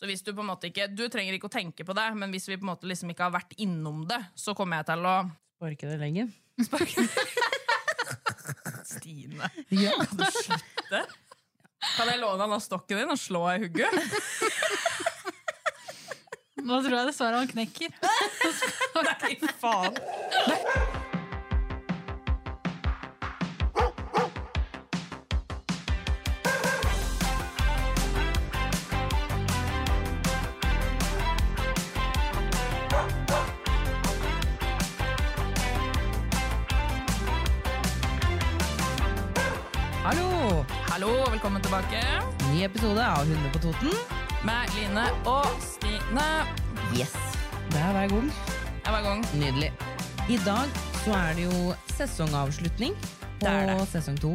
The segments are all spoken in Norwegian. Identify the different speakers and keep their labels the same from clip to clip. Speaker 1: Så hvis du på en måte ikke Du trenger ikke å tenke på det, men hvis vi på en måte liksom ikke har vært innom det, så kommer jeg til å
Speaker 2: Orker det lenger.
Speaker 1: Stine. Kan du slutte? Kan jeg låne han av stokken din og slå deg i hugget?
Speaker 2: Nå tror jeg dessverre han knekker.
Speaker 1: Nei, faen.
Speaker 2: Hallo!
Speaker 1: Hallo, velkommen tilbake
Speaker 2: Ny episode av Hunder på Toten.
Speaker 1: med Line og Stine.
Speaker 2: Yes. Det er hver gang.
Speaker 1: Jeg var i gang.
Speaker 2: Nydelig. I dag så er det jo sesongavslutning på
Speaker 1: Det er det.
Speaker 2: sesong to.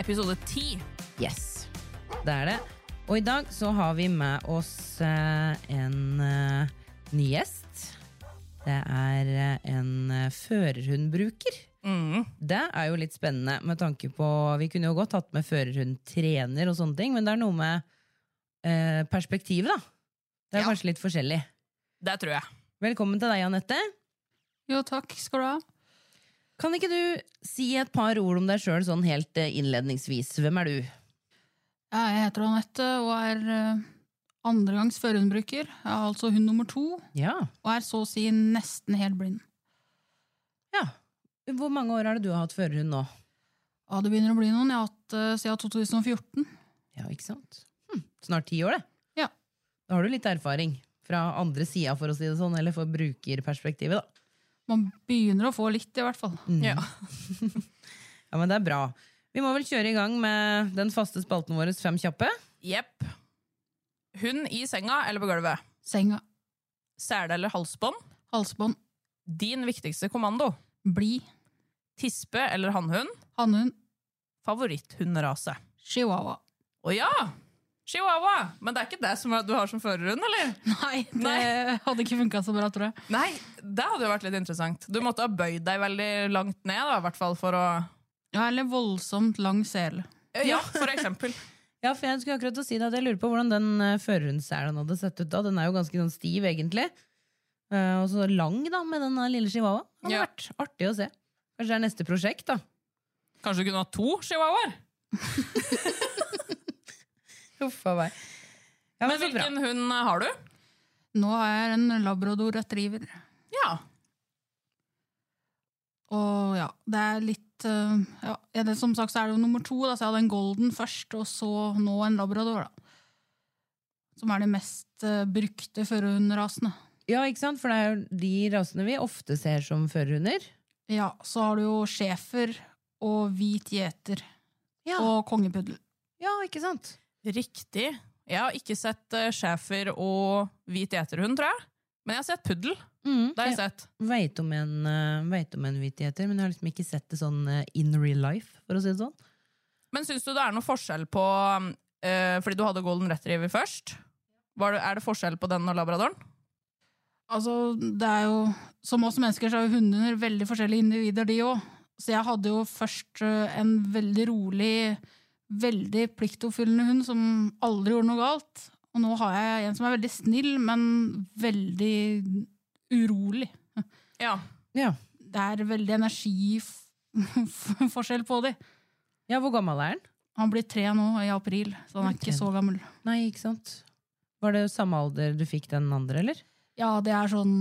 Speaker 1: Episode ti.
Speaker 2: Yes. Det er det. Og i dag så har vi med oss eh, en eh, ny gjest. Det er eh, en eh, førerhundbruker.
Speaker 1: Mm.
Speaker 2: Det er jo litt spennende med tanke på Vi kunne jo godt hatt med førerhundtrener og sånne ting, men det er noe med eh, perspektivet, da. Det er
Speaker 1: Ja.
Speaker 2: kanskje litt forskjellig.
Speaker 1: Det tror jeg.
Speaker 2: Velkommen til deg, Anette.
Speaker 3: Jo, takk skal du ha.
Speaker 2: Kan ikke du si et par ord om deg sjøl sånn helt eh, innledningsvis? Hvem er du?
Speaker 3: Ja, Jeg heter Anette og er eh, andregangs førhundbruker. Jeg er altså hund nummer to
Speaker 2: Ja.
Speaker 3: og er så å si nesten helt blind.
Speaker 2: ja. Hvor mange år har det du har hatt førerhund nå?
Speaker 3: Ja, det begynner å bli noen. Jeg har hatt eh, siden 2014.
Speaker 2: Ja, ikke sant? Hm, snart ti år, det.
Speaker 3: Ja.
Speaker 2: Da har du litt erfaring fra andre sida, for å si det sånn, eller for brukerperspektivet, da.
Speaker 3: Man begynner å få litt, i hvert fall.
Speaker 1: Ja.
Speaker 2: Ja, men det er bra. Vi må vel kjøre i gang med den faste spalten vår Fem kjappe.
Speaker 1: Jepp. Hund i senga eller på gulvet?
Speaker 3: Senga,
Speaker 1: Sele eller halsbånd?
Speaker 3: halsbånd,
Speaker 1: Din viktigste kommando?
Speaker 3: bli,
Speaker 1: Tispe eller hannhund?
Speaker 3: hannhund,
Speaker 1: Favoritthundrase?
Speaker 3: chihuahua.
Speaker 1: Å ja! Chihuahua! Men det er ikke det som er- du har som førerhund, eller?
Speaker 3: Nei, det
Speaker 1: Nei.
Speaker 3: hadde ikke funka så bra, tror jeg.
Speaker 1: Nei, det hadde jo vært litt interessant. Du måtte ha bøyd deg veldig langt ned, da, i hvert fall for å
Speaker 3: Ja, Eller voldsomt lang sele.
Speaker 1: Ja, for eksempel.
Speaker 2: Ja, for Jeg skulle akkurat til å si det at jeg lurer på hvordan den eh, førerhundselen hadde sett ut da. Den er jo ganske sånn stiv, egentlig. Eh, og så lang, da, med den der lille chihuahua. Det hadde
Speaker 1: Ja.
Speaker 2: vært artig å se. Kanskje det er neste prosjekt, da.
Speaker 1: Kanskje du kunne ha to chihuahuaer?
Speaker 2: Uff a meg. Ja,
Speaker 1: Men
Speaker 2: men så bra.
Speaker 1: hvilken hund har du?
Speaker 3: Nå har jeg en labrador retriever.
Speaker 1: Ja.
Speaker 3: Og ja, det er litt eh, ja, ja, det, Som sagt så er det jo nummer to. Da, så jeg hadde en golden først, og så nå en labrador. da. Som er de mest eh, brukte førerhundrasene.
Speaker 2: Ja, ikke sant? For det er jo de rasene vi ofte ser som førerhunder.
Speaker 3: Ja, så har du jo schæfer og hvit gjeter
Speaker 2: Ja.
Speaker 3: og kongepuddel.
Speaker 2: ja, ikke sant?
Speaker 1: Riktig. Jeg har ikke sett eh, schæfer og hvit gjeterhund, tror jeg. Men jeg har sett puddel.
Speaker 2: Mm.
Speaker 1: Det har jeg
Speaker 2: Jeg
Speaker 1: sett.
Speaker 2: veit om en, eh, vet om en hvitgjeter, men jeg har liksom ikke sett det sånn eh, in real life, for å si det sånn.
Speaker 1: Men syns du det er noe forskjell på eh, Fordi du hadde golden retriever først. Var det, er det forskjell på den og labradoren?
Speaker 3: Altså, det er jo Som oss mennesker så er jo hunder veldig forskjellige individer, de òg. Så jeg hadde jo først eh, en veldig rolig, veldig pliktoppfyllende hund som aldri gjorde noe galt. Og nå har jeg en som er veldig snill, men veldig urolig.
Speaker 1: Ja.
Speaker 2: Ja.
Speaker 3: Det er veldig energiforskjell på de.
Speaker 2: ja, hvor gammel er den?
Speaker 3: Han blir tre nå i april, så han er ikke så gammel.
Speaker 2: Nei, ikke sant? Var det samme alder du fikk den andre, eller?
Speaker 3: Ja, det er sånn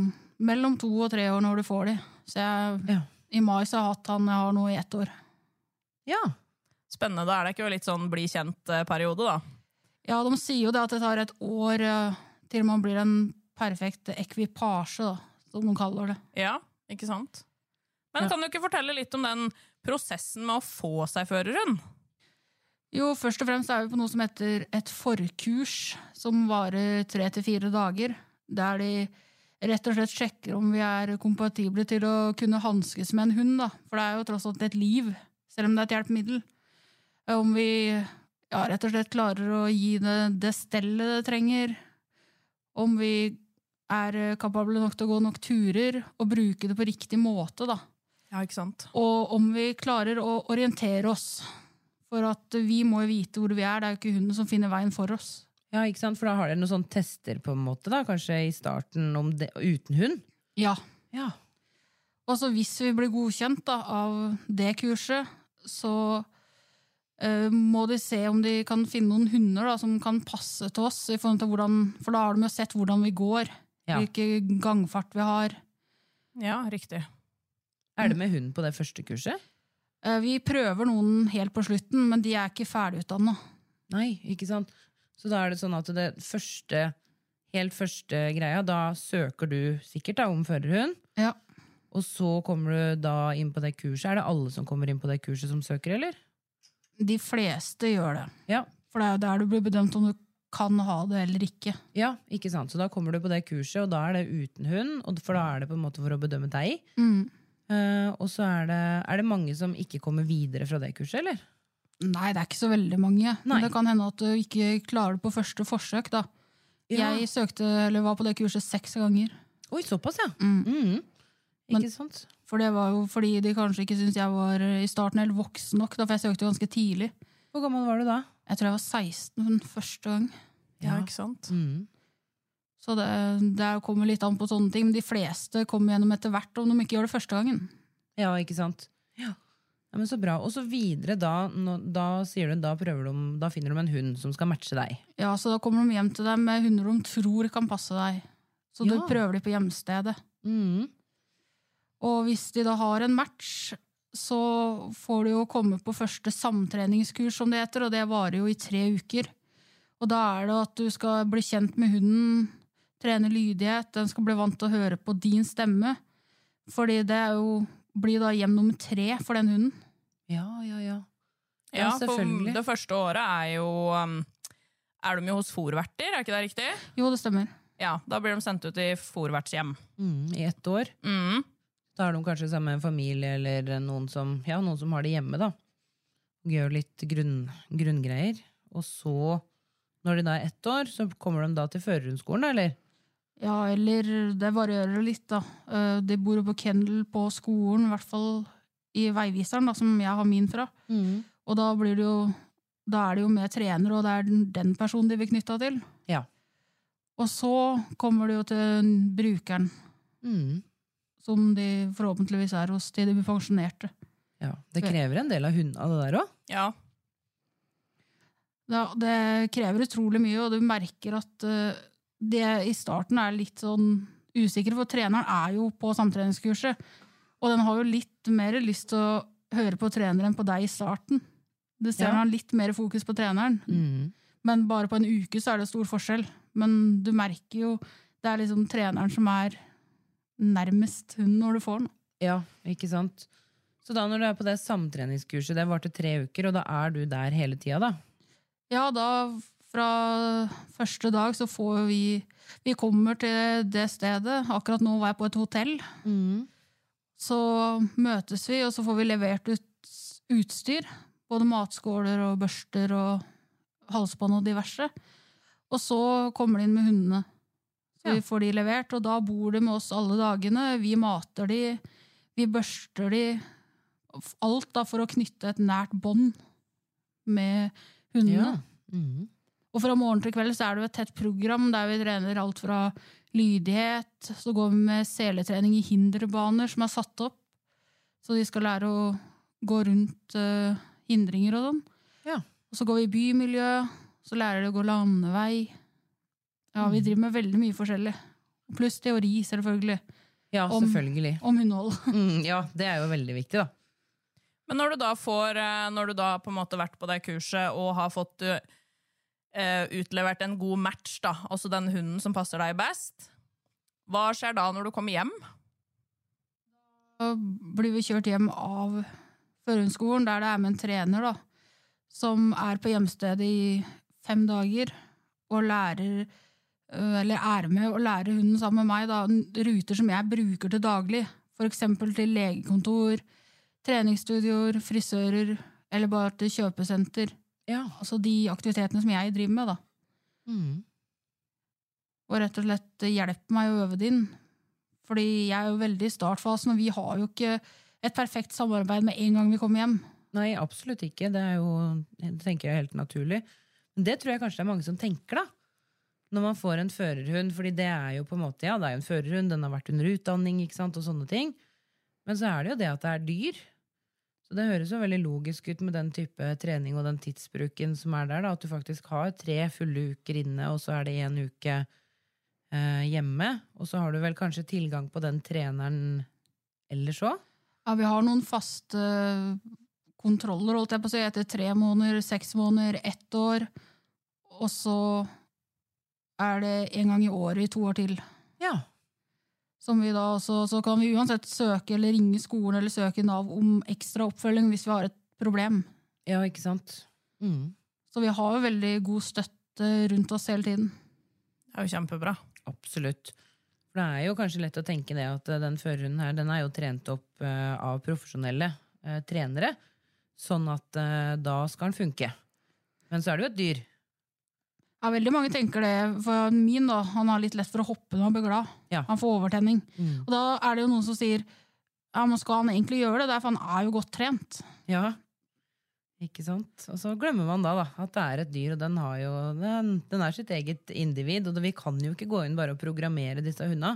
Speaker 3: mellom to og tre år når du får de. Så jeg,
Speaker 2: Ja.
Speaker 3: i mai så har jeg hatt han, jeg har nå i ett år.
Speaker 2: Ja.
Speaker 1: Spennende. Da er det ikke jo litt sånn bli kjent-periode, da.
Speaker 3: Ja, de sier jo det at det tar et år eh, til man blir en perfekt ekvipasje, da, som de kaller det.
Speaker 1: Ja, ikke sant? Men kan du ikke fortelle litt om den prosessen med å få seg førerhund?
Speaker 3: Jo, først og fremst er vi på noe som heter et forkurs, som varer tre til fire dager. Der de rett og slett sjekker om vi er kompatible til å kunne hanskes med en hund, da. For det er jo tross alt et liv, selv om det er et hjelpemiddel. Eh, Om vi ja, rett og slett klarer å gi det det stellet det trenger. Om vi er eh, kapable nok til å gå nok turer og bruke det på riktig måte, da.
Speaker 1: Ja, ikke sant?
Speaker 3: Og om vi klarer å orientere oss. For at vi må jo vite hvor vi er, det er jo ikke hunden som finner veien for oss.
Speaker 2: Ja, ikke sant? For da har dere noen sånne tester på en måte, da, kanskje i starten om det, uten hund?
Speaker 3: Ja.
Speaker 2: Ja.
Speaker 3: Og så hvis vi blir godkjent da, av det kurset, så eh, må de se om de kan finne noen hunder da, som kan passe til oss, i forhold til hvordan, for da har de jo sett hvordan vi går,
Speaker 2: Ja.
Speaker 3: hvilken gangfart vi har.
Speaker 1: Ja, riktig.
Speaker 2: Er det med hund på det første kurset?
Speaker 3: Eh, vi prøver noen helt på slutten, men de er ikke ferdigutdanna.
Speaker 2: Nei, ikke sant? Så da er det sånn at det første, helt første greia, da søker du sikkert da om førerhund,
Speaker 3: Ja.
Speaker 2: og så kommer du da inn på det kurset. Er det alle som kommer inn på det kurset som søker, eller?
Speaker 3: De fleste gjør det.
Speaker 2: Ja.
Speaker 3: For det er jo der du blir bedømt om du kan ha det eller ikke.
Speaker 2: Ja, ikke sant? Så da kommer du på det kurset, og da er det uten hund, og for da er det på en måte for å bedømme deg.
Speaker 3: Mm.
Speaker 2: Eh, og så er det, er det mange som ikke kommer videre fra det kurset, eller?
Speaker 3: Nei, det er ikke så veldig mange.
Speaker 2: Nei.
Speaker 3: Men det kan hende at du ikke klarer det på første forsøk. da. Jeg søkte, eller var på det kurset seks ganger.
Speaker 2: Oi, såpass, ja.
Speaker 3: Mm.
Speaker 2: Mhm. Ikke
Speaker 3: Men-
Speaker 2: sant?
Speaker 3: For det var jo fordi de kanskje ikke syntes jeg var eh, i starten helt voksen nok, da, for jeg søkte jo ganske tidlig.
Speaker 2: Hvor gammel var du da?
Speaker 3: Jeg tror jeg var 16 første gang.
Speaker 1: Ja, ikke sant?
Speaker 2: Mhm.
Speaker 3: Så det, det kommer litt an på sånne ting. Men de fleste kommer gjennom etter hvert om de ikke gjør det første gangen.
Speaker 2: Ja, ikke sant? Ja. men så bra. Og så videre, da, nå- da sier du, da prøver du om, da finner du om en hund som skal matche deg.
Speaker 3: Ja, Så da kommer de hjem til deg med hunder de tror kan passe deg. Så du
Speaker 2: Ja.
Speaker 3: prøver de på hjemstedet.
Speaker 2: Mhm.
Speaker 3: Og hvis de da har en match, så får du jo komme på første samtreningskurs, som det heter, og det varer jo i tre uker. Og da er det at du skal bli kjent med hunden, trene lydighet, den skal bli vant til å høre på din stemme. Fordi det er jo, blir da hjem nummer tre for den hunden.
Speaker 2: Ja, ja, ja.
Speaker 1: Ja, for
Speaker 2: selvfølgelig.
Speaker 1: det første året er jo um, Er de jo hos fòrverter, er ikke det riktig?
Speaker 3: Jo, det stemmer.
Speaker 1: Ja, da blir de sendt ut i fòrvertshjem.
Speaker 2: Mhm, I ett år.
Speaker 1: Mm.
Speaker 2: Da er de kanskje sammen med en familie eller noen som, ja, noen som har det hjemme, da. Gjør litt grunn, grunngreier. Og så, når de da er ett år, så kommer de da til førerhundskolen, da, eller?
Speaker 3: Ja, eller det varierer litt, da. Eh, De bor jo på kennel på skolen, i hvert fall i veiviseren, da, som jeg har min fra.
Speaker 2: Mm.
Speaker 3: Og da blir det jo Da er det jo med trener, og det er den, den personen de blir knytta til.
Speaker 2: Ja.
Speaker 3: Og så kommer det jo til brukeren,
Speaker 2: Mhm.
Speaker 3: som de forhåpentligvis er hos til de blir pensjonerte.
Speaker 2: Ja, det krever en del av hundene, det der òg.
Speaker 1: Ja.
Speaker 3: Ja, det krever utrolig mye, og du merker at eh, det i starten er litt sånn usikker, for treneren er jo på samtreningskurset. Og den har jo litt mer lyst til å høre på treneren enn på deg i starten. Du ser
Speaker 2: Ja.
Speaker 3: den har litt mer fokus på treneren, men bare på en uke så er det stor forskjell. Men du merker jo Det er liksom treneren som er nærmest hunden når du får den.
Speaker 2: Ja, ikke sant? Så da når du er på det samtreningskurset, det varte tre uker, og da er du der hele tida, da?
Speaker 3: Ja, da fra første dag så får vi Vi kommer til det stedet. Akkurat nå var jeg på et hotell. Så møtes vi, og så får vi levert ut utstyr. Både matskåler og børster og halsbånd og diverse. Og så kommer de inn med hundene. Så vi får de levert, og da bor de med oss alle dagene. Vi mater de, vi børster de. Alt da for å knytte et nært bånd med hundene.
Speaker 2: Mhm.
Speaker 3: Og fra morgen til kveld så er det jo et tett program der vi trener alt fra lydighet, så går vi med seletrening i hinderbaner som er satt opp, så de skal lære å gå rundt eh, hindringer og sånn.
Speaker 2: Ja.
Speaker 3: Og så går vi i bymiljø, så lærer de å gå landevei. Ja, vi driver med veldig mye forskjellig. Pluss teori, selvfølgelig,
Speaker 2: Ja,
Speaker 3: Om-
Speaker 2: selvfølgelig.
Speaker 3: om hundehold.
Speaker 2: Mm, ja, det er jo veldig viktig, da.
Speaker 1: Men når du da får eh, Når du da på en måte har vært på det kurset og har fått eh, eh, utlevert en god match, da, altså den hunden som passer deg best, hva skjer da når du kommer hjem?
Speaker 3: Da blir vi kjørt hjem av førhundskolen, der det er med en trener, da. som er på hjemstedet i fem dager og lærer øh, eller er med og lærer hunden sammen med meg da, n- ruter som jeg bruker til daglig. F.eks. til legekontor, treningsstudioer, frisører eller bare til kjøpesenter.
Speaker 2: Ja.
Speaker 3: Altså de aktivitetene som jeg driver med. da.
Speaker 2: Mm.
Speaker 3: Og rett og slett hjelper meg å øve det inn. Fordi jeg er jo veldig i startfasen, og vi har jo ikke et perfekt samarbeid med en gang vi kommer hjem.
Speaker 2: Nei, absolutt ikke. Det er jo, det tenker jeg er helt naturlig. Men det tror jeg kanskje det er mange som tenker, da. Når man får en førerhund, fordi det er jo på en måte, ja, det er jo en førerhund, den har vært under utdanning, ikke sant, og sånne ting. Men så er det jo det at det er dyr. Så det høres jo veldig logisk ut med den type trening og den tidsbruken som er der, da, at du faktisk har tre fulle uker inne, og så er det én uke eh, hjemme, og så har du vel kanskje tilgang på den treneren ellers òg?
Speaker 3: Ja, vi har noen faste eh, kontroller, holdt jeg på å si, etter tre måneder, seks måneder, ett år. Og så er det en gang i året i to år til.
Speaker 2: Ja.
Speaker 3: Som vi da også, så kan vi uansett søke eller ringe skolen eller søke Nav om ekstra oppfølging hvis vi har et problem.
Speaker 2: Ja, ikke sant? Mm.
Speaker 3: Så vi har jo veldig god støtte rundt oss hele tiden.
Speaker 1: Det er jo kjempebra.
Speaker 2: Absolutt. For det er jo kanskje lett å tenke det at eh, den førerhunden her, den er jo trent opp eh, av profesjonelle eh, trenere, sånn at eh, da skal den funke. Men så er det jo et dyr.
Speaker 3: Ja, veldig mange tenker det. For min da, han har litt lett for å hoppe når han blir glad.
Speaker 2: Ja.
Speaker 3: Han får overtenning.
Speaker 2: Mm.
Speaker 3: Og da er det jo noen som sier ja, men skal han egentlig gjøre det? Det er for han er jo godt trent.
Speaker 2: Ja. Ikke sant? Og så glemmer man da, da at det er et dyr, og den, har jo, den, den er sitt eget individ. Og det, vi kan jo ikke gå inn bare og programmere disse hundene.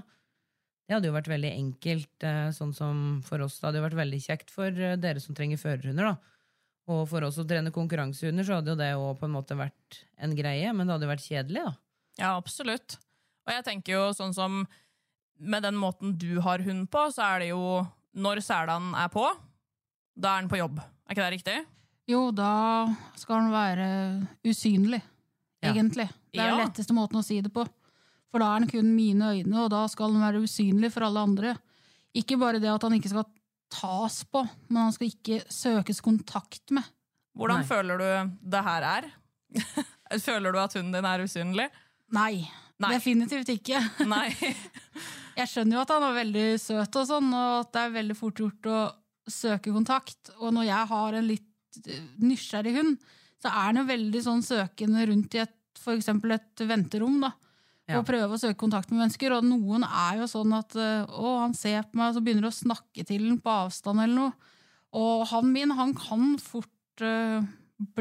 Speaker 2: Det hadde jo vært veldig enkelt, eh, sånn som for oss. Det hadde jo vært veldig kjekt for eh, dere som trenger førerhunder. da. Og for oss å trene konkurransehunder, så hadde jo det også på en måte vært en greie, men det hadde jo vært kjedelig, da.
Speaker 1: Ja, absolutt. Og jeg tenker jo sånn som med den måten du har hund på, så er det jo når selen er på, da er den på jobb. Er ikke det riktig?
Speaker 3: Jo, da skal han være usynlig,
Speaker 2: Ja.
Speaker 3: egentlig. Det er den
Speaker 1: Ja.
Speaker 3: letteste måten å si det på. For da er han kun mine øyne, og da skal han være usynlig for alle andre. Ikke bare det at han ikke skal tas på, men han skal ikke søkes kontakt med.
Speaker 1: Hvordan
Speaker 2: Nei.
Speaker 1: føler du det her er? føler du at hunden din er usynlig?
Speaker 3: Nei,
Speaker 1: Nei.
Speaker 3: definitivt ikke.
Speaker 1: Nei.
Speaker 3: Jeg skjønner jo at han er veldig søt og sånn, og at det er veldig fort gjort å søke kontakt. Og når jeg har en litt eh, nysgjerrig hund, så er han jo veldig sånn søkende rundt i et, for eksempel et venterom, da.
Speaker 2: Ja.
Speaker 3: Og prøve å søke kontakt med mennesker. Og noen er jo sånn at eh, å, han ser på meg, og så begynner de å snakke til den på avstand eller noe. Og han min, han kan fort eh,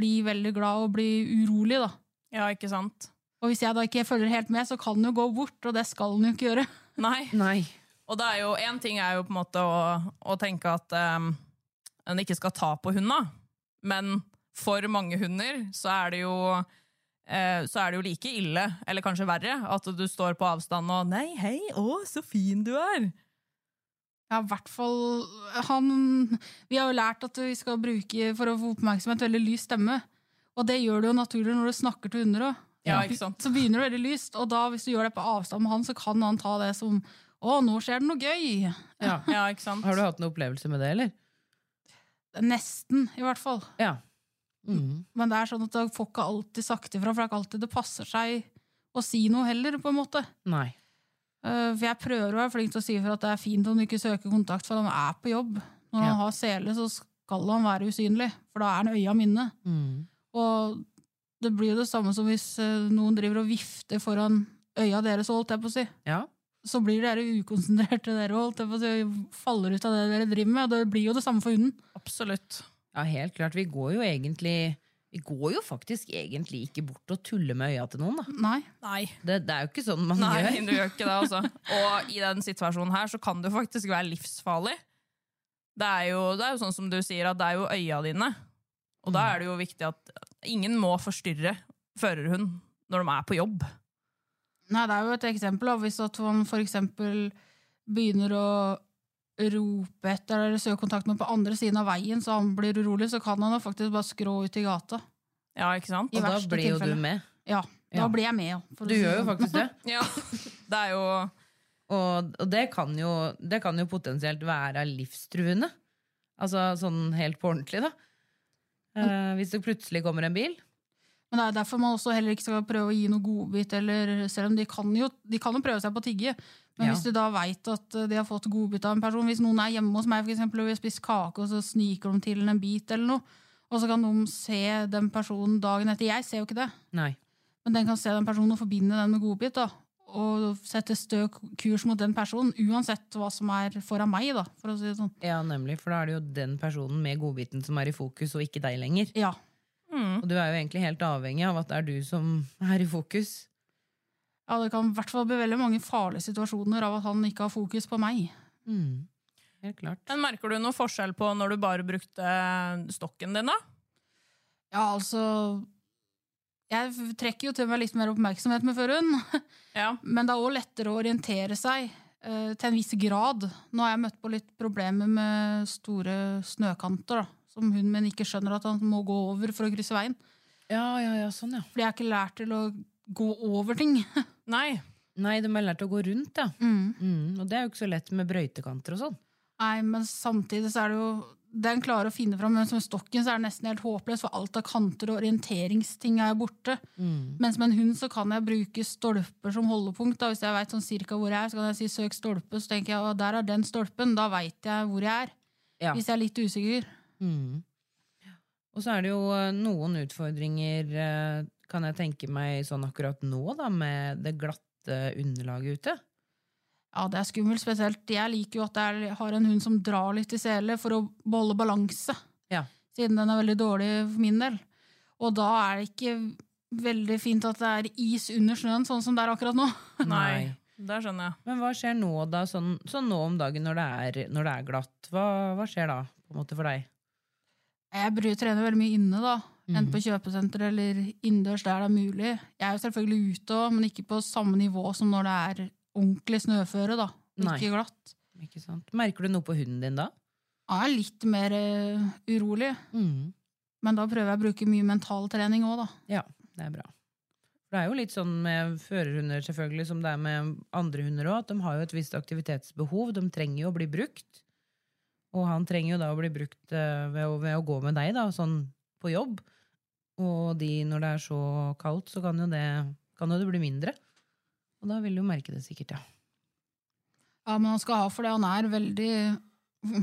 Speaker 3: bli veldig glad og bli urolig, da.
Speaker 1: Ja, ikke sant?
Speaker 3: Og hvis jeg da ikke følger helt med, så kan han jo gå bort, og det skal han jo ikke gjøre.
Speaker 1: Nei.
Speaker 2: Nei.
Speaker 1: Og det er jo, en ting er jo på en måte å, å tenke at um, en ikke skal ta på hundene, men for mange hunder så er det jo eh, så er det jo like ille, eller kanskje verre, at du står på avstand og 'Nei, hei, å, så fin du er'.
Speaker 3: Ja, i hvert fall eh, han Vi har jo lært at vi skal bruke, for å få oppmerksomhet, veldig lys stemme. Og det gjør du jo naturlig når du snakker til hunder òg.
Speaker 1: Ja, ikke sant?
Speaker 3: Så begynner det veldig lyst, og da hvis du gjør det på avstand med han, så kan han ta det som å, nå skjer det noe gøy!
Speaker 1: Ja, ikke sant?
Speaker 2: Har du hatt noen opplevelse med det, eller?
Speaker 3: Nesten, i hvert fall.
Speaker 2: Ja. Mm.
Speaker 3: Men det er sånn at da får ikke alltid sagt ifra, for det er ikke alltid det passer seg å si noe heller, på en måte.
Speaker 2: Nei.
Speaker 3: Eh, For jeg prøver å være flink til å si ifra at det er fint om du ikke søker kontakt, for han er på jobb. Når
Speaker 2: Ja.
Speaker 3: han har sele, så skal han være usynlig, for da er han øya mine.
Speaker 2: Mm.
Speaker 3: Og det blir jo det samme som hvis eh, noen driver og vifter foran øya deres, holdt jeg på å si.
Speaker 2: Ja.
Speaker 3: Så blir dere ukonsentrerte, dere holdt jeg på å si, og faller ut av det dere driver med. Og det blir jo det samme for hunden.
Speaker 1: Absolutt.
Speaker 2: Ja, helt klart. Vi går jo egentlig Vi går jo faktisk egentlig ikke bort og tuller med øya til noen, da.
Speaker 3: Nei.
Speaker 1: Nei.
Speaker 2: Det, det er jo ikke sånn man
Speaker 1: Nei,
Speaker 2: gjør.
Speaker 1: du gjør ikke det, altså. Og i den situasjonen her så kan det jo faktisk være livsfarlig. Det er, jo, det er jo sånn som du sier, at det er jo øya dine. Og da er det jo viktig at ingen må forstyrre førerhund når de er på jobb.
Speaker 3: Nei, det er jo et eksempel. Da. Hvis at man for eksempel begynner å rope etter eller søke kontakt med på andre siden av veien, så han blir urolig, så kan han da faktisk bare skrå ut i gata.
Speaker 1: Ja, ikke sant?
Speaker 3: I
Speaker 2: Og da
Speaker 3: verste
Speaker 2: blir jo
Speaker 3: tilfelle.
Speaker 2: du med.
Speaker 3: Ja, da
Speaker 2: Ja.
Speaker 3: blir jeg med, ja. for å
Speaker 2: Du
Speaker 3: si
Speaker 2: gjør jo
Speaker 3: sånn.
Speaker 2: faktisk det.
Speaker 1: Ja. Det er jo
Speaker 2: Og, og det, kan jo, det kan jo potensielt være livstruende. Altså sånn helt på ordentlig, da. Eh, hvis det plutselig kommer en bil.
Speaker 3: Men det er derfor man også heller ikke skal prøve å gi noe godbit, eller selv om de kan jo, de kan jo prøve seg på å tigge. Men
Speaker 2: Ja.
Speaker 3: hvis de da veit at eh, de har fått godbit av en person Hvis noen er hjemme hos meg for eksempel, og vi har spist kake, og så sniker de til en bit, eller noe, og så kan de se den personen dagen etter Jeg ser jo ikke det,
Speaker 2: Nei.
Speaker 3: men den kan se den personen og forbinde den med godbit. da og sette stø kurs mot den personen, uansett hva som er foran meg. da, for å si det sånn.
Speaker 2: Ja, nemlig, for da er det jo den personen med godbiten som er i fokus, og ikke deg lenger.
Speaker 3: Ja,
Speaker 2: Og du er jo egentlig helt avhengig av at det er du som er i fokus.
Speaker 3: ja Det kan i hvert fall bli veldig mange farlige situasjoner av at han ikke har fokus på meg.
Speaker 2: Helt klart.
Speaker 1: Men merker du noe forskjell på når du bare brukte stokken din, da?
Speaker 3: Ja, altså Jeg f- trekker jo til meg litt mer oppmerksomhet med førhund,
Speaker 1: Ja.
Speaker 3: men det er òg lettere å orientere seg eh, til en viss grad. Nå har jeg møtt på litt problemer med store snøkanter, da, som hunden min ikke skjønner at han må gå over for å krysse veien.
Speaker 2: Ja, ja, ja, sånn, ja.
Speaker 3: Fordi jeg er ikke lært til å gå over ting.
Speaker 1: Nei.
Speaker 2: Nei, de har lært å gå rundt, ja.
Speaker 3: Mm.
Speaker 2: Mm, og det er jo ikke så lett med brøytekanter og sånn.
Speaker 3: Nei, men samtidig så er det jo den klarer å finne fram, men med stokken så er det nesten helt håpløst, for alt av kanter og orienteringsting er jo borte. Mens med en hund så kan jeg bruke stolper som holdepunkt. Da. Hvis jeg veit sånn cirka hvor jeg er, så kan jeg si 'søk stolpe', så tenker jeg at der er den stolpen. Da veit jeg hvor jeg er.
Speaker 2: Ja.
Speaker 3: Hvis jeg er litt usikker.
Speaker 2: Mm. Og så er det jo eh, noen utfordringer, eh, kan jeg tenke meg, sånn akkurat nå, da, med det glatte underlaget ute.
Speaker 3: Ja, det er skummelt, spesielt. Jeg liker jo at jeg har en hund som drar litt i selet for å beholde balanse,
Speaker 2: Ja.
Speaker 3: siden den er veldig dårlig for min del. Og da er det ikke veldig fint at det er is under snøen, sånn som det er akkurat nå.
Speaker 1: Nei. Det skjønner jeg.
Speaker 2: Men hva skjer nå, da, sånn, sånn nå om dagen når det er, når det er glatt? Hva, hva skjer da, på en måte, for deg?
Speaker 3: Jeg bryr, trener veldig mye inne, da. Enten på kjøpesenter eller innendørs der det er mulig. Jeg er jo selvfølgelig ute òg, men ikke på samme nivå som når det er ordentlig snøføre. da. og
Speaker 2: Nei.
Speaker 3: Ikke glatt.
Speaker 2: Ikke sant? Merker du noe på hunden din da?
Speaker 3: Jeg er litt mer eh, urolig,
Speaker 2: Mm.
Speaker 3: men da prøver jeg å bruke mye mental trening òg, da.
Speaker 2: Ja, det er bra. For Det er jo litt sånn med førerhunder selvfølgelig, som det er med andre hunder òg, at de har jo et visst aktivitetsbehov. De trenger jo å bli brukt. Og han trenger jo da å bli brukt eh, ved å, ved å gå med deg, da, sånn på jobb. Og de, når det er så kaldt, så kan jo det, kan jo det bli mindre. Og da vil du jo merke det sikkert, ja.
Speaker 3: Ja, men han skal ha for det. Han er veldig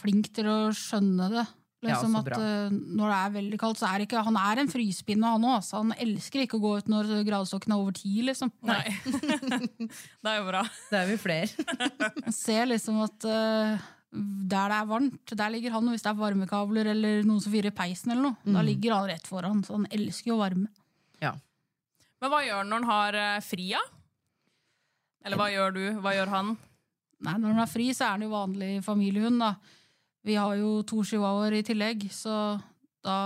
Speaker 3: flink til å skjønne det.
Speaker 2: Ja,
Speaker 3: Liksom
Speaker 2: så
Speaker 3: at
Speaker 2: bra.
Speaker 3: eh, Når det er veldig kaldt, så er det ikke Han er en fryspinne, han òg. Han elsker ikke å gå ut når gradestokken er over ti, liksom.
Speaker 1: Nei. det er jo bra.
Speaker 2: Det er vi flere.
Speaker 3: Han ser liksom at eh, der det er varmt, der ligger han. Og hvis det er varmekabler eller noen som fyrer i peisen, eller noe,
Speaker 2: Mm.
Speaker 3: da ligger han rett foran. Så han elsker jo varme.
Speaker 2: Ja.
Speaker 1: Men hva gjør han når han har eh, fri, da? Eller hva gjør du? Hva gjør han?
Speaker 3: Nei, når han er fri, så er han jo vanlig familiehund, da. Vi har jo to chihuahuaer i tillegg, så da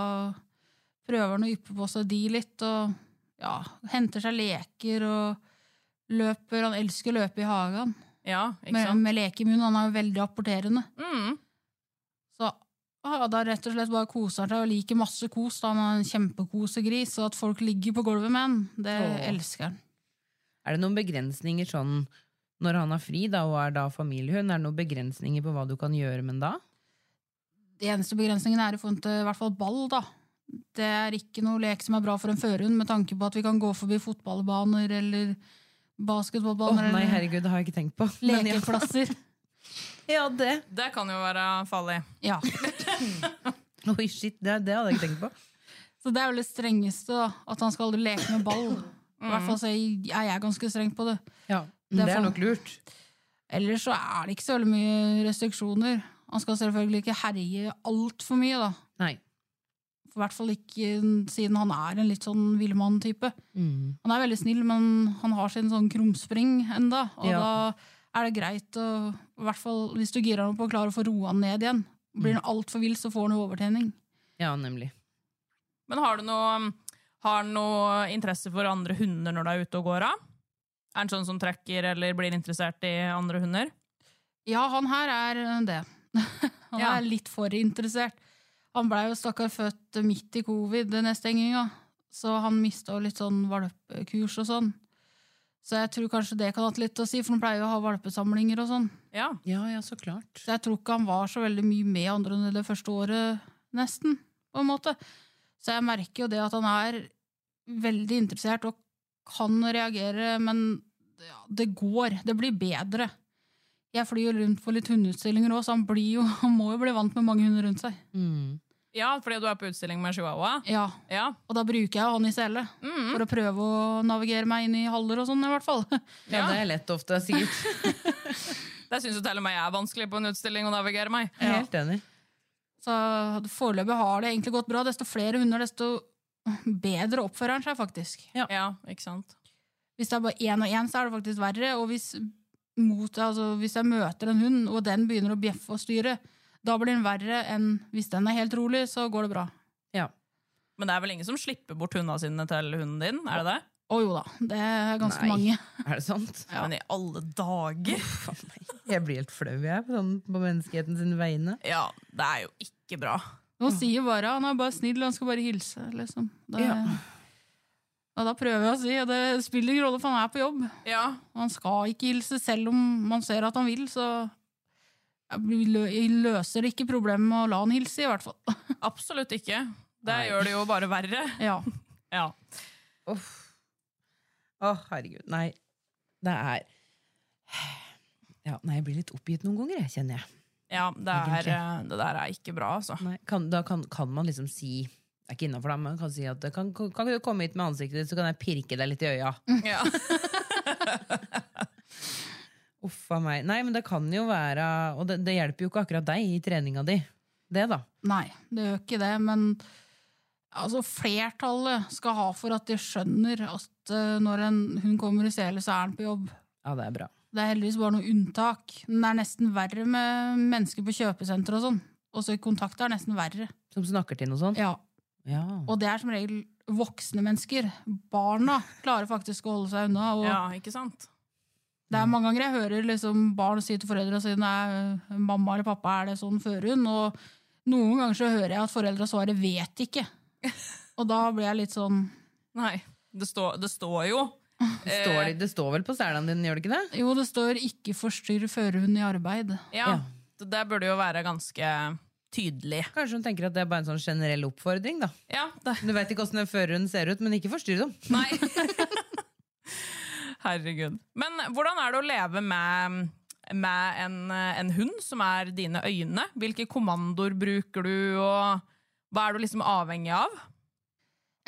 Speaker 3: prøver han å yppe på seg de litt, og ja, henter seg leker og løper. Han elsker å løpe i hagen
Speaker 1: Ja, ikke
Speaker 3: med,
Speaker 1: sant?
Speaker 3: med leke i munnen. Han er jo veldig apporterende.
Speaker 1: Mm.
Speaker 3: Så ah, da rett og slett bare koser han seg og liker masse kos. Da. Han er en kjempekosegris, og at folk ligger på gulvet med han, det
Speaker 2: Åh.
Speaker 3: elsker han.
Speaker 2: Er det noen begrensninger sånn når han har fri da, og er da familiehund? Er det noen begrensninger på hva du kan gjøre med den da?
Speaker 3: De eneste begrensningene er i forhold til i hvert fall ball, da. Det er ikke noe lek som er bra for en førhund, med tanke på at vi kan gå forbi fotballbaner eller
Speaker 2: Å
Speaker 3: basketballbaner
Speaker 2: nei,
Speaker 3: eller
Speaker 2: herregud, det har jeg ikke tenkt på. Men ja.
Speaker 3: lekeplasser.
Speaker 2: ja, det.
Speaker 1: Det kan jo være farlig.
Speaker 3: Ja.
Speaker 2: Oi, shit, det, det hadde jeg ikke tenkt på.
Speaker 3: Så det er vel det strengeste, da. At han skal aldri leke med ball. I hvert fall så er jeg- er jeg ganske streng på det.
Speaker 2: Ja,
Speaker 3: Det er
Speaker 2: det er
Speaker 3: for-
Speaker 2: nok lurt.
Speaker 3: Ellers så er det ikke så veldig mye restriksjoner. Han skal selvfølgelig ikke herje altfor mye, da.
Speaker 2: Nei.
Speaker 3: I hvert fall ikke siden han er en litt sånn villmann-type. Han er veldig snill, men han har sin sånn krumspring enda, og
Speaker 2: Ja.
Speaker 3: da er det greit å, i hvert fall hvis du girer han opp og klarer å få roa han ned igjen. Blir han altfor vill, så får han jo overtenning.
Speaker 2: Ja, nemlig.
Speaker 1: Men har du noe, um, har du noe interesse for andre hunder når du er ute og går av? Er han sånn som trekker eller blir interessert i andre hunder?
Speaker 3: Ja, han her er eh, det. han
Speaker 1: Ja.
Speaker 3: er litt for interessert. Han blei jo stakkar født midt i covid, den nestenginga, så han mista jo litt sånn valpekurs og sånn. Så jeg tror kanskje det kan ha hatt litt å si, for han pleier jo å ha valpesamlinger og sånn.
Speaker 1: Ja.
Speaker 2: Ja, ja, så klart.
Speaker 3: Så jeg tror ikke han var så veldig mye med andre enn det første året, nesten. på en måte. Så jeg merker jo det at han er veldig interessert og kan reagere, men ja, det går. Det blir bedre. Jeg flyr jo rundt på litt hundeutstillinger òg, så han, blir jo, han må jo bli vant med mange hunder rundt seg.
Speaker 2: Mm.
Speaker 1: Ja, fordi du er på utstilling med chihuahua?
Speaker 3: Ja,
Speaker 1: Ja.
Speaker 3: Og da bruker jeg jo han i sele for å prøve å navigere meg inn i haller og sånn, i hvert fall.
Speaker 2: Ja, det er lett ofte, sikkert.
Speaker 1: Det syns jo til og med jeg er vanskelig på en utstilling å navigere meg.
Speaker 2: Jeg er helt enig.
Speaker 3: Så foreløpig har det egentlig gått bra. Desto flere hunder, desto bedre oppfører han seg faktisk.
Speaker 1: Ja, ikke sant?
Speaker 3: Hvis det er bare én og én, så er det faktisk verre. Og hvis, mot, altså, hvis jeg møter en hund, og den begynner å bjeffe og styre, da blir den verre enn hvis den er helt rolig, så går det bra.
Speaker 2: Ja.
Speaker 1: Men det er vel ingen som slipper bort hundene sine til hunden din? er det det?
Speaker 3: Å jo da, det er ganske
Speaker 2: Nei.
Speaker 3: mange.
Speaker 2: Er det sant?
Speaker 1: Men i alle dager!
Speaker 2: Faen meg. Jeg blir helt flau, jeg, på, sånn, på menneskeheten sine vegne.
Speaker 1: Ja, det er jo ikke bra.
Speaker 3: Nå sier bare han er bare snill, han skal bare hilse, liksom.
Speaker 2: Mm.
Speaker 3: Det,
Speaker 2: Ja.
Speaker 3: Og da prøver jeg å si, og det spiller ingen rolle, for han er på jobb.
Speaker 1: Ja,
Speaker 3: Og han skal ikke hilse, selv om man ser at han vil, så jeg blir lø- jeg løser ikke problemet med å la han hilse, i hvert fall.
Speaker 1: Absolutt ikke. Det gjør det jo bare verre.
Speaker 3: Ja.
Speaker 1: Ja.
Speaker 2: Uff. Å, herregud. Nei. Det er ja, Nei, jeg blir litt oppgitt noen ganger, jeg, kjenner jeg.
Speaker 1: ja det, er, eh, det der er ikke bra, altså.
Speaker 2: Nei, kan, da kan, kan man liksom si det er ikke innenfor da, men kan si at kan, kan ikke du komme hit med ansiktet ditt, så kan jeg pirke deg litt i øya.
Speaker 1: Ja.
Speaker 2: Uff a meg. Nei, men det kan jo være Og det, det hjelper jo ikke akkurat deg i treninga di. Det, da.
Speaker 3: Nei, det gjør ikke det, men altså, flertallet skal ha for at de skjønner at eh, når en hund kommer i sele, så er han på jobb.
Speaker 2: Ja, det er bra.
Speaker 3: Det er heldigvis bare noe unntak. Men det er nesten verre med mennesker på kjøpesenter og sånn. Også i kontakt er det nesten verre.
Speaker 2: Som snakker til noe sånt.
Speaker 3: Ja,
Speaker 2: Ja.
Speaker 3: og det er som regel voksne mennesker. Barna klarer faktisk å holde seg unna. Og
Speaker 1: ja, ikke sant?
Speaker 3: Det er mange ganger jeg hører liksom barn si til foreldrene sine «Nei, mamma eller pappa er det sånn før hun, og noen ganger så hører jeg at foreldra svarer vet ikke. Og da blir jeg litt sånn
Speaker 1: Nei. Det, står- det står jo
Speaker 2: Det, står, det- det står vel på selene dine, gjør det ikke det?
Speaker 3: Jo, det står 'ikke forstyrr førerhund i arbeid'.
Speaker 1: Ja.
Speaker 2: Ja.
Speaker 1: Det der burde jo være ganske tydelig.
Speaker 2: Kanskje hun tenker at det er bare en sånn generell oppfordring, da.
Speaker 1: Ja, det,
Speaker 2: Du veit ikke åssen en førerhund ser ut, men ikke forstyrr dem.
Speaker 1: nei. Herregud. Men hvordan er det å leve med, med en, en hund som er dine øyne? Hvilke kommandoer bruker du, og hva er du liksom avhengig av?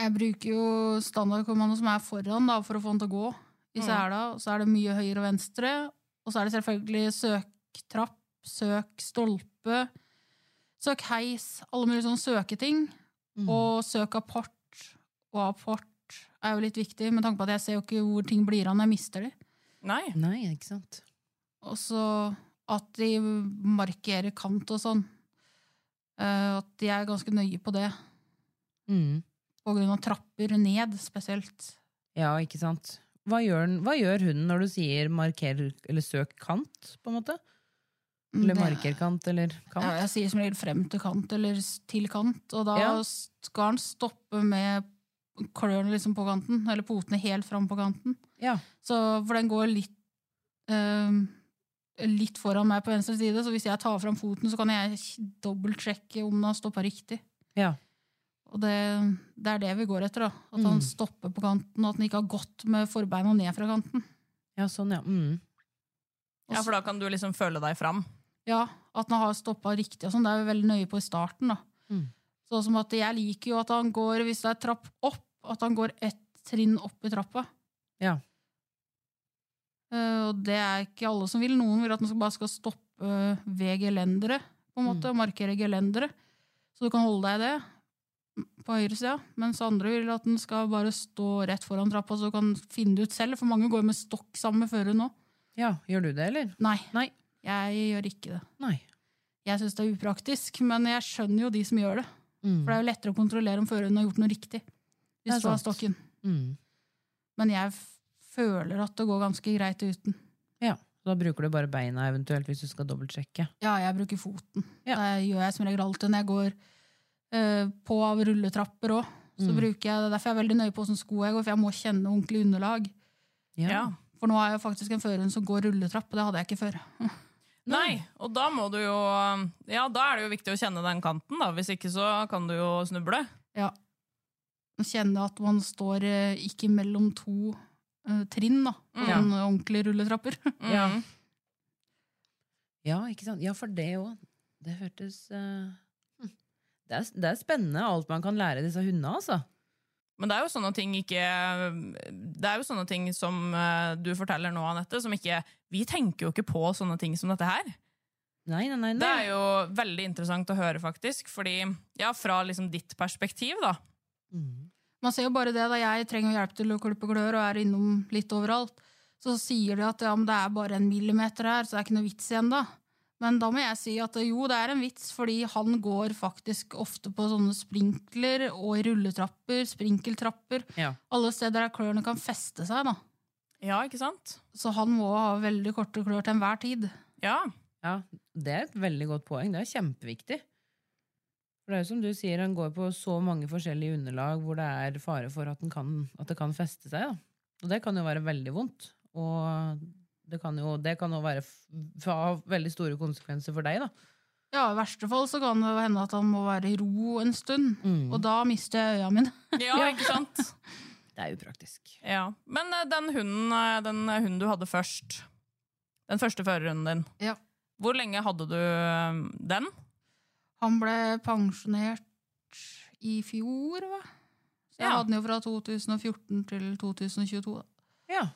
Speaker 3: Jeg bruker jo standardkommando som er foran da, for å få den til å gå i sela. og Så er det mye høyre og venstre. Og så er det selvfølgelig søk trapp, søk stolpe, søk heis, alle mulige sånne søketing. Og søk apport. Og apport er jo litt viktig, med tanke på at jeg ser jo ikke hvor ting blir av når jeg mister de.
Speaker 1: Nei.
Speaker 2: Nei, ikke sant.
Speaker 3: Og så at de markerer kant og sånn. Eh, at de er ganske nøye på det.
Speaker 2: Mm.
Speaker 3: På grunn av trapper ned, spesielt.
Speaker 2: Ja, ikke sant. Hva gjør, den- hva gjør hunden når du sier marker eller søk kant, på en måte? Eller
Speaker 3: Det-
Speaker 2: markerkant eller
Speaker 3: Ja,
Speaker 2: kant?
Speaker 3: jeg sier som regel frem til kant eller s- til kant, og da
Speaker 2: Ja.
Speaker 3: skal han stoppe med klørne liksom på kanten, eller potene helt fram på kanten.
Speaker 2: Ja.
Speaker 3: Så, for den går litt, ehm, litt foran meg på venstre side, så hvis jeg tar fram foten, så kan jeg k- dobbeltsjekke om den har stoppa riktig.
Speaker 2: Ja.
Speaker 3: Og det, det er det vi går etter, da. At han
Speaker 2: Mm.
Speaker 3: stopper på kanten, og at han ikke har gått med forbeina ned fra kanten.
Speaker 2: ja, sånn, ja. Mm.
Speaker 1: Ja, for da kan du liksom føle deg fram.
Speaker 3: Ja, at han har stoppa riktig og sånn. Det er vi veldig nøye på i starten, da.
Speaker 2: Mm.
Speaker 3: Sånn som at jeg liker jo at han går, hvis det er trapp opp, at han går ett trinn opp i trappa.
Speaker 2: Ja.
Speaker 3: Eh, og det er ikke alle som vil. Noen vil at han skal- bare skal stoppe eh, ved gelendere, på en
Speaker 2: Mm.
Speaker 3: måte, og markere gelendere. Så du kan holde deg i det på høyre sida, mens andre vil at den skal bare stå rett foran trappa, så du kan finne det ut selv. For mange går med stokk sammen med føreren nå.
Speaker 2: ja. Gjør du det, eller?
Speaker 3: Nei,
Speaker 2: Nei.
Speaker 3: jeg gjør ikke det.
Speaker 2: Nei.
Speaker 3: Jeg syns det er upraktisk, men jeg skjønner jo de som gjør det. For det
Speaker 2: Mm.
Speaker 3: er jo lettere å kontrollere om føreren har gjort noe riktig.
Speaker 2: Det er
Speaker 3: Hvis du har
Speaker 2: sant.
Speaker 3: stokken.
Speaker 2: Mm.
Speaker 3: Men jeg f- føler at det går ganske greit uten.
Speaker 2: ja. Da bruker du bare beina eventuelt hvis du skal dobbeltsjekke.
Speaker 3: Ja, jeg bruker foten.
Speaker 2: Ja.
Speaker 3: Det gjør jeg som regel alltid når jeg går eh, på av rulletrapper òg. Så
Speaker 2: Mm.
Speaker 3: bruker jeg det. er Derfor jeg er veldig nøye på åssen sko jeg går, for jeg må kjenne ordentlig underlag.
Speaker 2: Ja.
Speaker 1: Ja.
Speaker 3: For nå er jeg faktisk en førerhund som går rulletrapp, og det hadde jeg ikke før.
Speaker 1: Nei, og da må du jo Ja, da er det jo viktig å kjenne den kanten, da. Hvis ikke så kan du jo snuble.
Speaker 3: Ja. Å Kjenne at man står eh, ikke mellom to eh, trinn, da.
Speaker 1: Mm.
Speaker 3: Sånn eh, ordentlige rulletrapper.
Speaker 2: Ja. Ja, ikke sant? Ja, for det òg. Det hørtes eh, hm. det, er, det er spennende alt man kan lære disse hundene, altså.
Speaker 1: Men det er jo sånne ting ikke Det er jo sånne ting som eh, du forteller nå, Anette, som ikke Vi tenker jo ikke på sånne ting som dette her.
Speaker 2: Nei, nei, nei.
Speaker 1: Det
Speaker 2: nei.
Speaker 1: er jo veldig interessant å høre, faktisk. Fordi, ja, fra liksom ditt perspektiv, da.
Speaker 2: Mm.
Speaker 3: Man ser jo bare det, da jeg trenger hjelp til å klippe klør og er innom litt overalt, så sier de at ja, men det er bare en millimeter her, så det er ikke noe vits igjen da. Men da må jeg si at eh, jo, det er en vits, fordi han går faktisk ofte på sånne sprinkler og i rulletrapper, sprinkeltrapper,
Speaker 2: Ja.
Speaker 3: alle steder der klørne kan feste seg da.
Speaker 1: Ja, ikke sant?
Speaker 3: Så han må ha veldig korte klør til enhver tid.
Speaker 1: Ja.
Speaker 2: ja, det er et veldig godt poeng. Det er kjempeviktig. For det er jo som du sier, han går på så mange forskjellige underlag hvor det er fare for at, den kan, at det kan feste seg. Da. Og det kan jo være veldig vondt. Og det kan jo, det kan jo være f ha veldig store konsekvenser for deg, da.
Speaker 3: Ja, i verste fall så kan det jo hende at han må være i ro en stund,
Speaker 2: Mm.
Speaker 3: og da mister jeg øya mine.
Speaker 1: Ja, ikke sant?
Speaker 2: Det er upraktisk.
Speaker 1: Ja. Men eh, den hunden, eh, den hunden du hadde først, den første førerhunden din,
Speaker 3: Ja.
Speaker 1: hvor lenge hadde du eh, den?
Speaker 3: Han ble pensjonert i fjor, hva? Så jeg
Speaker 1: Ja.
Speaker 3: hadde den jo fra 2014 til 2022. da.
Speaker 2: Ja.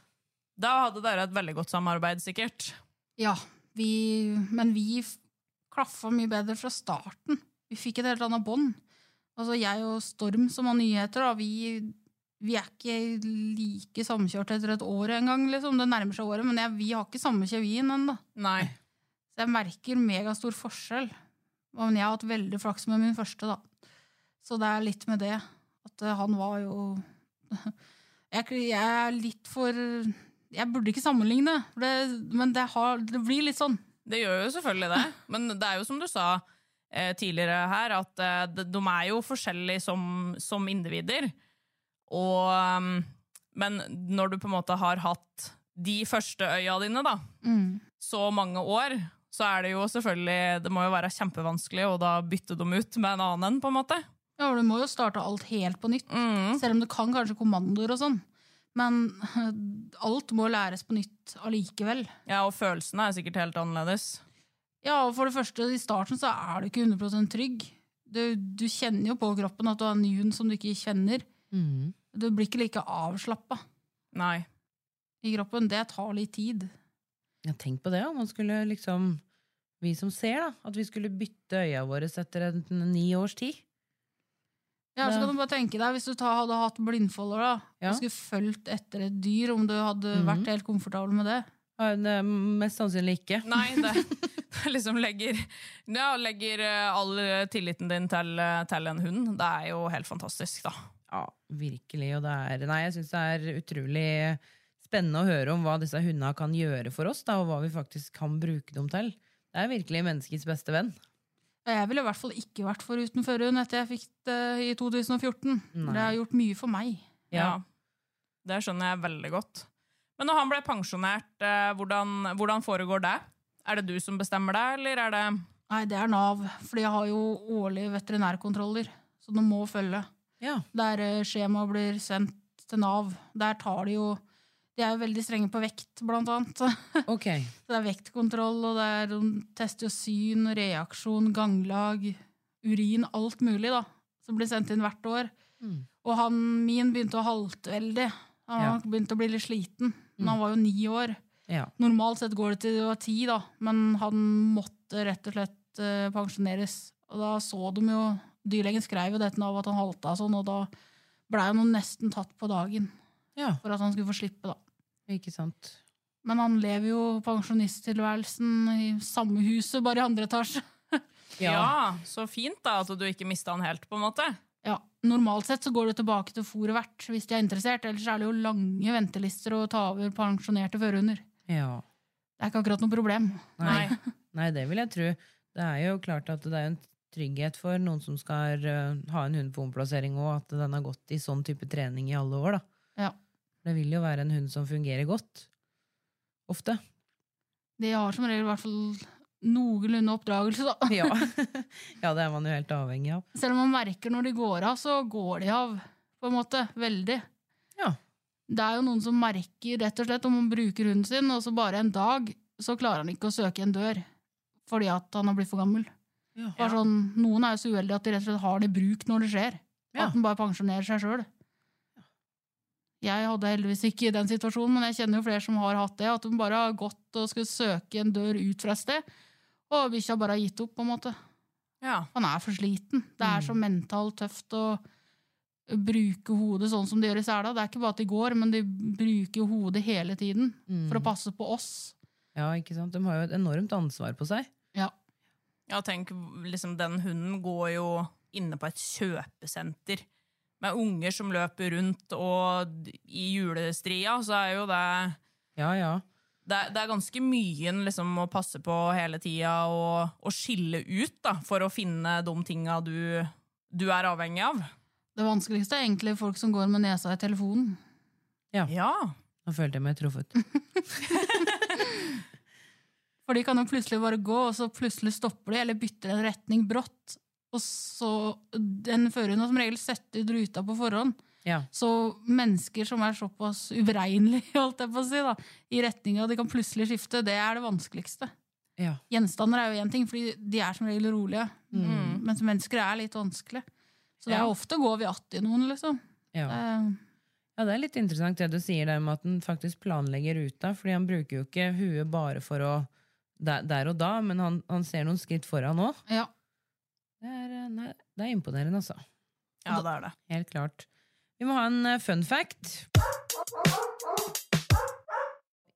Speaker 1: Da hadde dere et veldig godt samarbeid, sikkert.
Speaker 3: Ja, vi, men vi f- klaffa mye bedre fra starten. Vi fikk et helt annet bånd. Altså, jeg og Storm, som har nyheter, da, vi, vi er ikke like samkjørte etter et år engang. Liksom. Det nærmer seg året, men jeg, vi har ikke samme kjevien ennå.
Speaker 1: Nei.
Speaker 3: Så jeg merker megastor forskjell. Ja, Men jeg har hatt veldig flaks med min første, da. Så det er litt med det. At eh, han var jo jeg, kli- jeg er litt for Jeg burde ikke sammenligne, for det, men det, har, det blir litt sånn.
Speaker 1: Det gjør jo selvfølgelig det. Men det er jo som du sa eh, tidligere her, at eh, de- de er jo forskjellige som, som individer. Og, ehm, men når du på en måte har hatt de første øya dine, da, så mange år, så er det jo selvfølgelig Det må jo være kjempevanskelig å da bytte dem ut med en annen en, på en måte.
Speaker 3: Ja, og Du må jo starte alt helt på nytt,
Speaker 1: Mm.
Speaker 3: selv om du kan kanskje kommandoer og sånn. Men alt må læres på nytt allikevel.
Speaker 1: Ja, og følelsene er sikkert helt annerledes.
Speaker 3: Ja, og for det første, i starten så er du ikke 100 trygg. Du, du kjenner jo på kroppen at du har en ny hund som du ikke kjenner.
Speaker 2: Mm.
Speaker 3: Du blir ikke like avslappa
Speaker 1: Nei.
Speaker 3: i kroppen. Det tar litt tid.
Speaker 2: Ja, tenk på det, om man skulle liksom Vi som ser, da, at vi skulle bytte øya våre etter en, ni års tid.
Speaker 3: Ja, så
Speaker 2: Ja.
Speaker 3: kan du bare tenke deg, Hvis du ta, hadde hatt blindfolder da,
Speaker 2: Ja.
Speaker 3: og skulle fulgt etter et dyr, om du hadde
Speaker 2: Mhm.
Speaker 3: vært helt komfortabel med det
Speaker 2: Ja, det er Mest sannsynlig ikke.
Speaker 1: Nei, det, det liksom legger, ja, legger eh, all eh, tilliten din til, eh, til en hund. Det er jo helt fantastisk, da.
Speaker 2: Ja, virkelig. Og det er Nei, jeg syns det er utrolig spennende å høre om hva disse hundene kan gjøre for oss, da, og hva vi faktisk kan bruke dem til. Det er virkelig menneskets beste venn.
Speaker 3: Ja, Jeg ville i hvert fall ikke vært foruten førerhund etter jeg fikk det i 2014.
Speaker 2: Nei.
Speaker 3: Det har gjort mye for meg.
Speaker 1: Ja. Det skjønner jeg veldig godt. Men når han ble pensjonert, eh, hvordan, hvordan foregår det? Er det du som bestemmer det, eller er det
Speaker 3: Nei, det er Nav, for de har jo årlige veterinærkontroller, så de må følge.
Speaker 2: Ja.
Speaker 3: der eh, skjema blir sendt til Nav. Der tar de jo De er jo veldig strenge på vekt, blant annet. Så
Speaker 2: Ok.
Speaker 3: det er vektkontroll, og det er, de tester jo syn, reaksjon, ganglag, urin, alt mulig, da. Som blir sendt inn hvert år.
Speaker 2: Mm.
Speaker 3: Og han min begynte å halte veldig. Han
Speaker 2: Ja. Mm.
Speaker 3: begynte å bli litt sliten. Men han var jo ni år.
Speaker 2: Ja.
Speaker 3: Normalt sett går det til det var ti, da, men han måtte rett og slett eh, pensjoneres. Og da så de jo Dyrlegen skrev jo dette av at han halta sånn, og da blei han jo nesten tatt på dagen
Speaker 2: ja.
Speaker 3: for at han skulle få slippe, da.
Speaker 2: Ikke sant.
Speaker 3: Men han lever jo pensjonisttilværelsen i samme huset, bare i andre etasje.
Speaker 1: ja. så fint da at du ikke mista han helt, på en måte.
Speaker 3: Ja, Normalt sett så går det tilbake til fôr og vert hvis de er interessert, ellers er det jo lange ventelister å ta over pensjonerte førerhunder.
Speaker 2: Ja.
Speaker 3: Det er ikke akkurat noe problem.
Speaker 2: Nei. Nei, det vil jeg tro. Det er jo klart at det er en trygghet for noen som skal eh, ha en hund på omplassering òg, at den har gått i sånn type trening i alle år, da.
Speaker 3: Ja.
Speaker 2: Det vil jo være en hund som fungerer godt. Ofte.
Speaker 3: De har som regel i hvert fall noenlunde oppdragelse, da.
Speaker 2: Ja. ja, det er man jo helt avhengig av.
Speaker 3: Selv om man merker når de går av, så går de av, på en måte. Veldig.
Speaker 2: Ja.
Speaker 3: Det er jo noen som merker rett og slett om man bruker hunden sin, og så bare en dag så klarer han ikke å søke en dør fordi at han har blitt for gammel. Bare sånn, noen er jo så uheldige at de rett og slett har det i bruk når det skjer.
Speaker 2: Ja.
Speaker 3: At den bare pensjonerer seg sjøl. Jeg hadde heldigvis ikke den situasjonen, men jeg kjenner jo flere som har hatt det. At de bare har gått og skulle søke en dør ut fra et sted, og bikkja bare har gitt opp. på en måte.
Speaker 1: Ja.
Speaker 3: Han er for sliten. Det er så mentalt tøft å bruke hodet sånn som de gjør i sela. Det er ikke bare at de går, men de bruker hodet hele tiden for å passe på oss.
Speaker 2: Ja, ikke sant? De har jo et enormt ansvar på seg.
Speaker 3: Ja.
Speaker 1: Ja, tenk, liksom, den hunden går jo inne på et kjøpesenter med unger som løper rundt, og d- i julestria så er jo det
Speaker 2: Ja, ja.
Speaker 1: det, er- det er ganske mye en liksom må passe på hele tida og, og skille ut da, for å finne de tinga du, du er avhengig av.
Speaker 3: Det vanskeligste er egentlig folk som går med nesa i telefonen.
Speaker 1: Ja.
Speaker 2: Nå følte jeg meg truffet.
Speaker 3: For de kan jo plutselig bare gå, og så plutselig stopper de, eller bytter en retning brått. Og så, Den føreren har som regel sett ut ruta på forhånd.
Speaker 2: Ja.
Speaker 3: Så mennesker som er såpass uberegnelige, holdt jeg på å si, da, i retninga de kan plutselig skifte, det er det vanskeligste.
Speaker 2: Ja. Mm.
Speaker 3: Gjenstander er jo én ting, fordi de er som regel rolige. Mens mennesker er litt vanskelig. Så det er
Speaker 2: Ja.
Speaker 3: ofte går vi att i noen, liksom.
Speaker 2: Ja.
Speaker 3: Eh,
Speaker 2: ja, det er litt interessant det du sier der med at han faktisk planlegger ruta, fordi han bruker jo ikke huet bare for å der, der og da, men han, han ser noen skritt foran òg.
Speaker 3: ja.
Speaker 2: Det, er, eh, nei, det er imponerende, altså.
Speaker 1: ja, det er det.
Speaker 2: Helt klart. Vi må ha en eh, fun fact.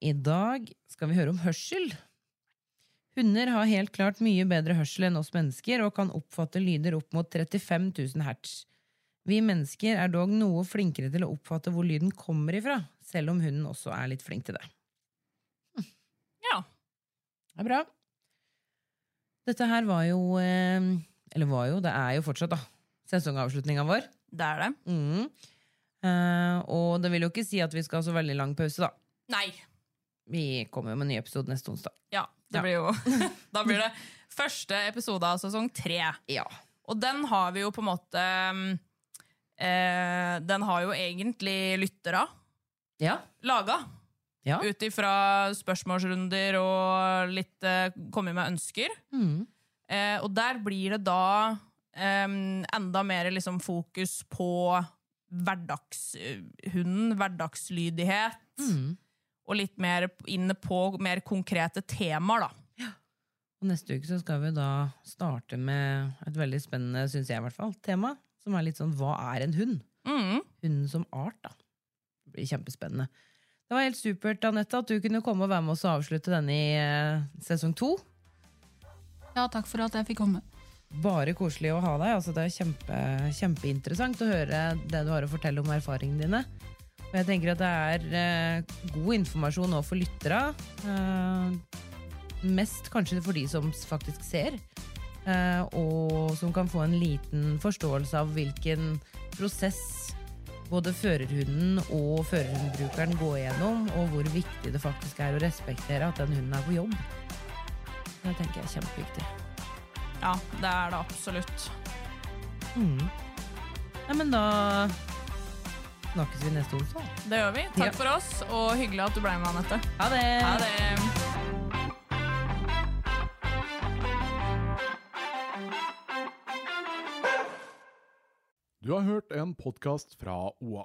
Speaker 2: I dag skal vi høre om hørsel. Hunder har helt klart mye bedre hørsel enn oss mennesker og kan oppfatte lyder opp mot 35 000 hertz. Vi mennesker er dog noe flinkere til å oppfatte hvor lyden kommer ifra, selv om hunden også er litt flink til det.
Speaker 1: Ja.
Speaker 2: Det er bra. Dette her var jo eh, Eller var jo, det er jo fortsatt, da. Sesongavslutninga vår.
Speaker 1: Det er det.
Speaker 2: Mm. Eh, og det vil jo ikke si at vi skal ha så veldig lang pause, da.
Speaker 1: Nei.
Speaker 2: Vi kommer jo med en ny episode neste onsdag.
Speaker 1: Ja, det
Speaker 2: Ja.
Speaker 1: blir jo Da blir det første episode av sesong tre.
Speaker 2: Ja.
Speaker 1: Og den har vi jo på en måte mm, eh, Den har jo egentlig lyttere
Speaker 2: Ja.
Speaker 1: laga.
Speaker 2: Ja.
Speaker 1: Ut ifra spørsmålsrunder og litt eh, kommet med ønsker.
Speaker 2: Mm.
Speaker 1: Eh, og der blir det da eh, enda mer liksom fokus på hverdagshunden, hverdagslydighet,
Speaker 2: Mm.
Speaker 1: og litt mer inne på mer konkrete temaer, da.
Speaker 2: Og neste uke så skal vi da starte med et veldig spennende, syns jeg i hvert fall, tema. Som er litt sånn hva er en hund?
Speaker 1: Mm.
Speaker 2: Hunden som art, da. Det blir kjempespennende. Det var helt supert, Anette, at du kunne komme og være med oss og avslutte denne i eh, sesong to.
Speaker 3: ja, takk for at jeg fikk komme.
Speaker 2: Bare koselig å ha deg. Altså, det er kjempe, kjempeinteressant å høre det du har å fortelle om erfaringene dine. Og jeg tenker at det er eh, god informasjon nå for lyttere. eh, mest kanskje for de som s- faktisk ser. eh, og som kan få en liten forståelse av hvilken prosess både førerhunden og førerhundbrukeren går gjennom, og hvor viktig det faktisk er å respektere at den hunden er på jobb. Det tenker jeg er kjempeviktig.
Speaker 1: Ja, det er det absolutt.
Speaker 2: Mm. Nei, men da snakkes vi neste onsdag.
Speaker 1: Det gjør vi.
Speaker 2: Ja.
Speaker 1: Takk for oss, og hyggelig at du ble med, Anette.
Speaker 2: Ha det!
Speaker 1: Ha det!
Speaker 4: Du har hørt en podkast fra OA.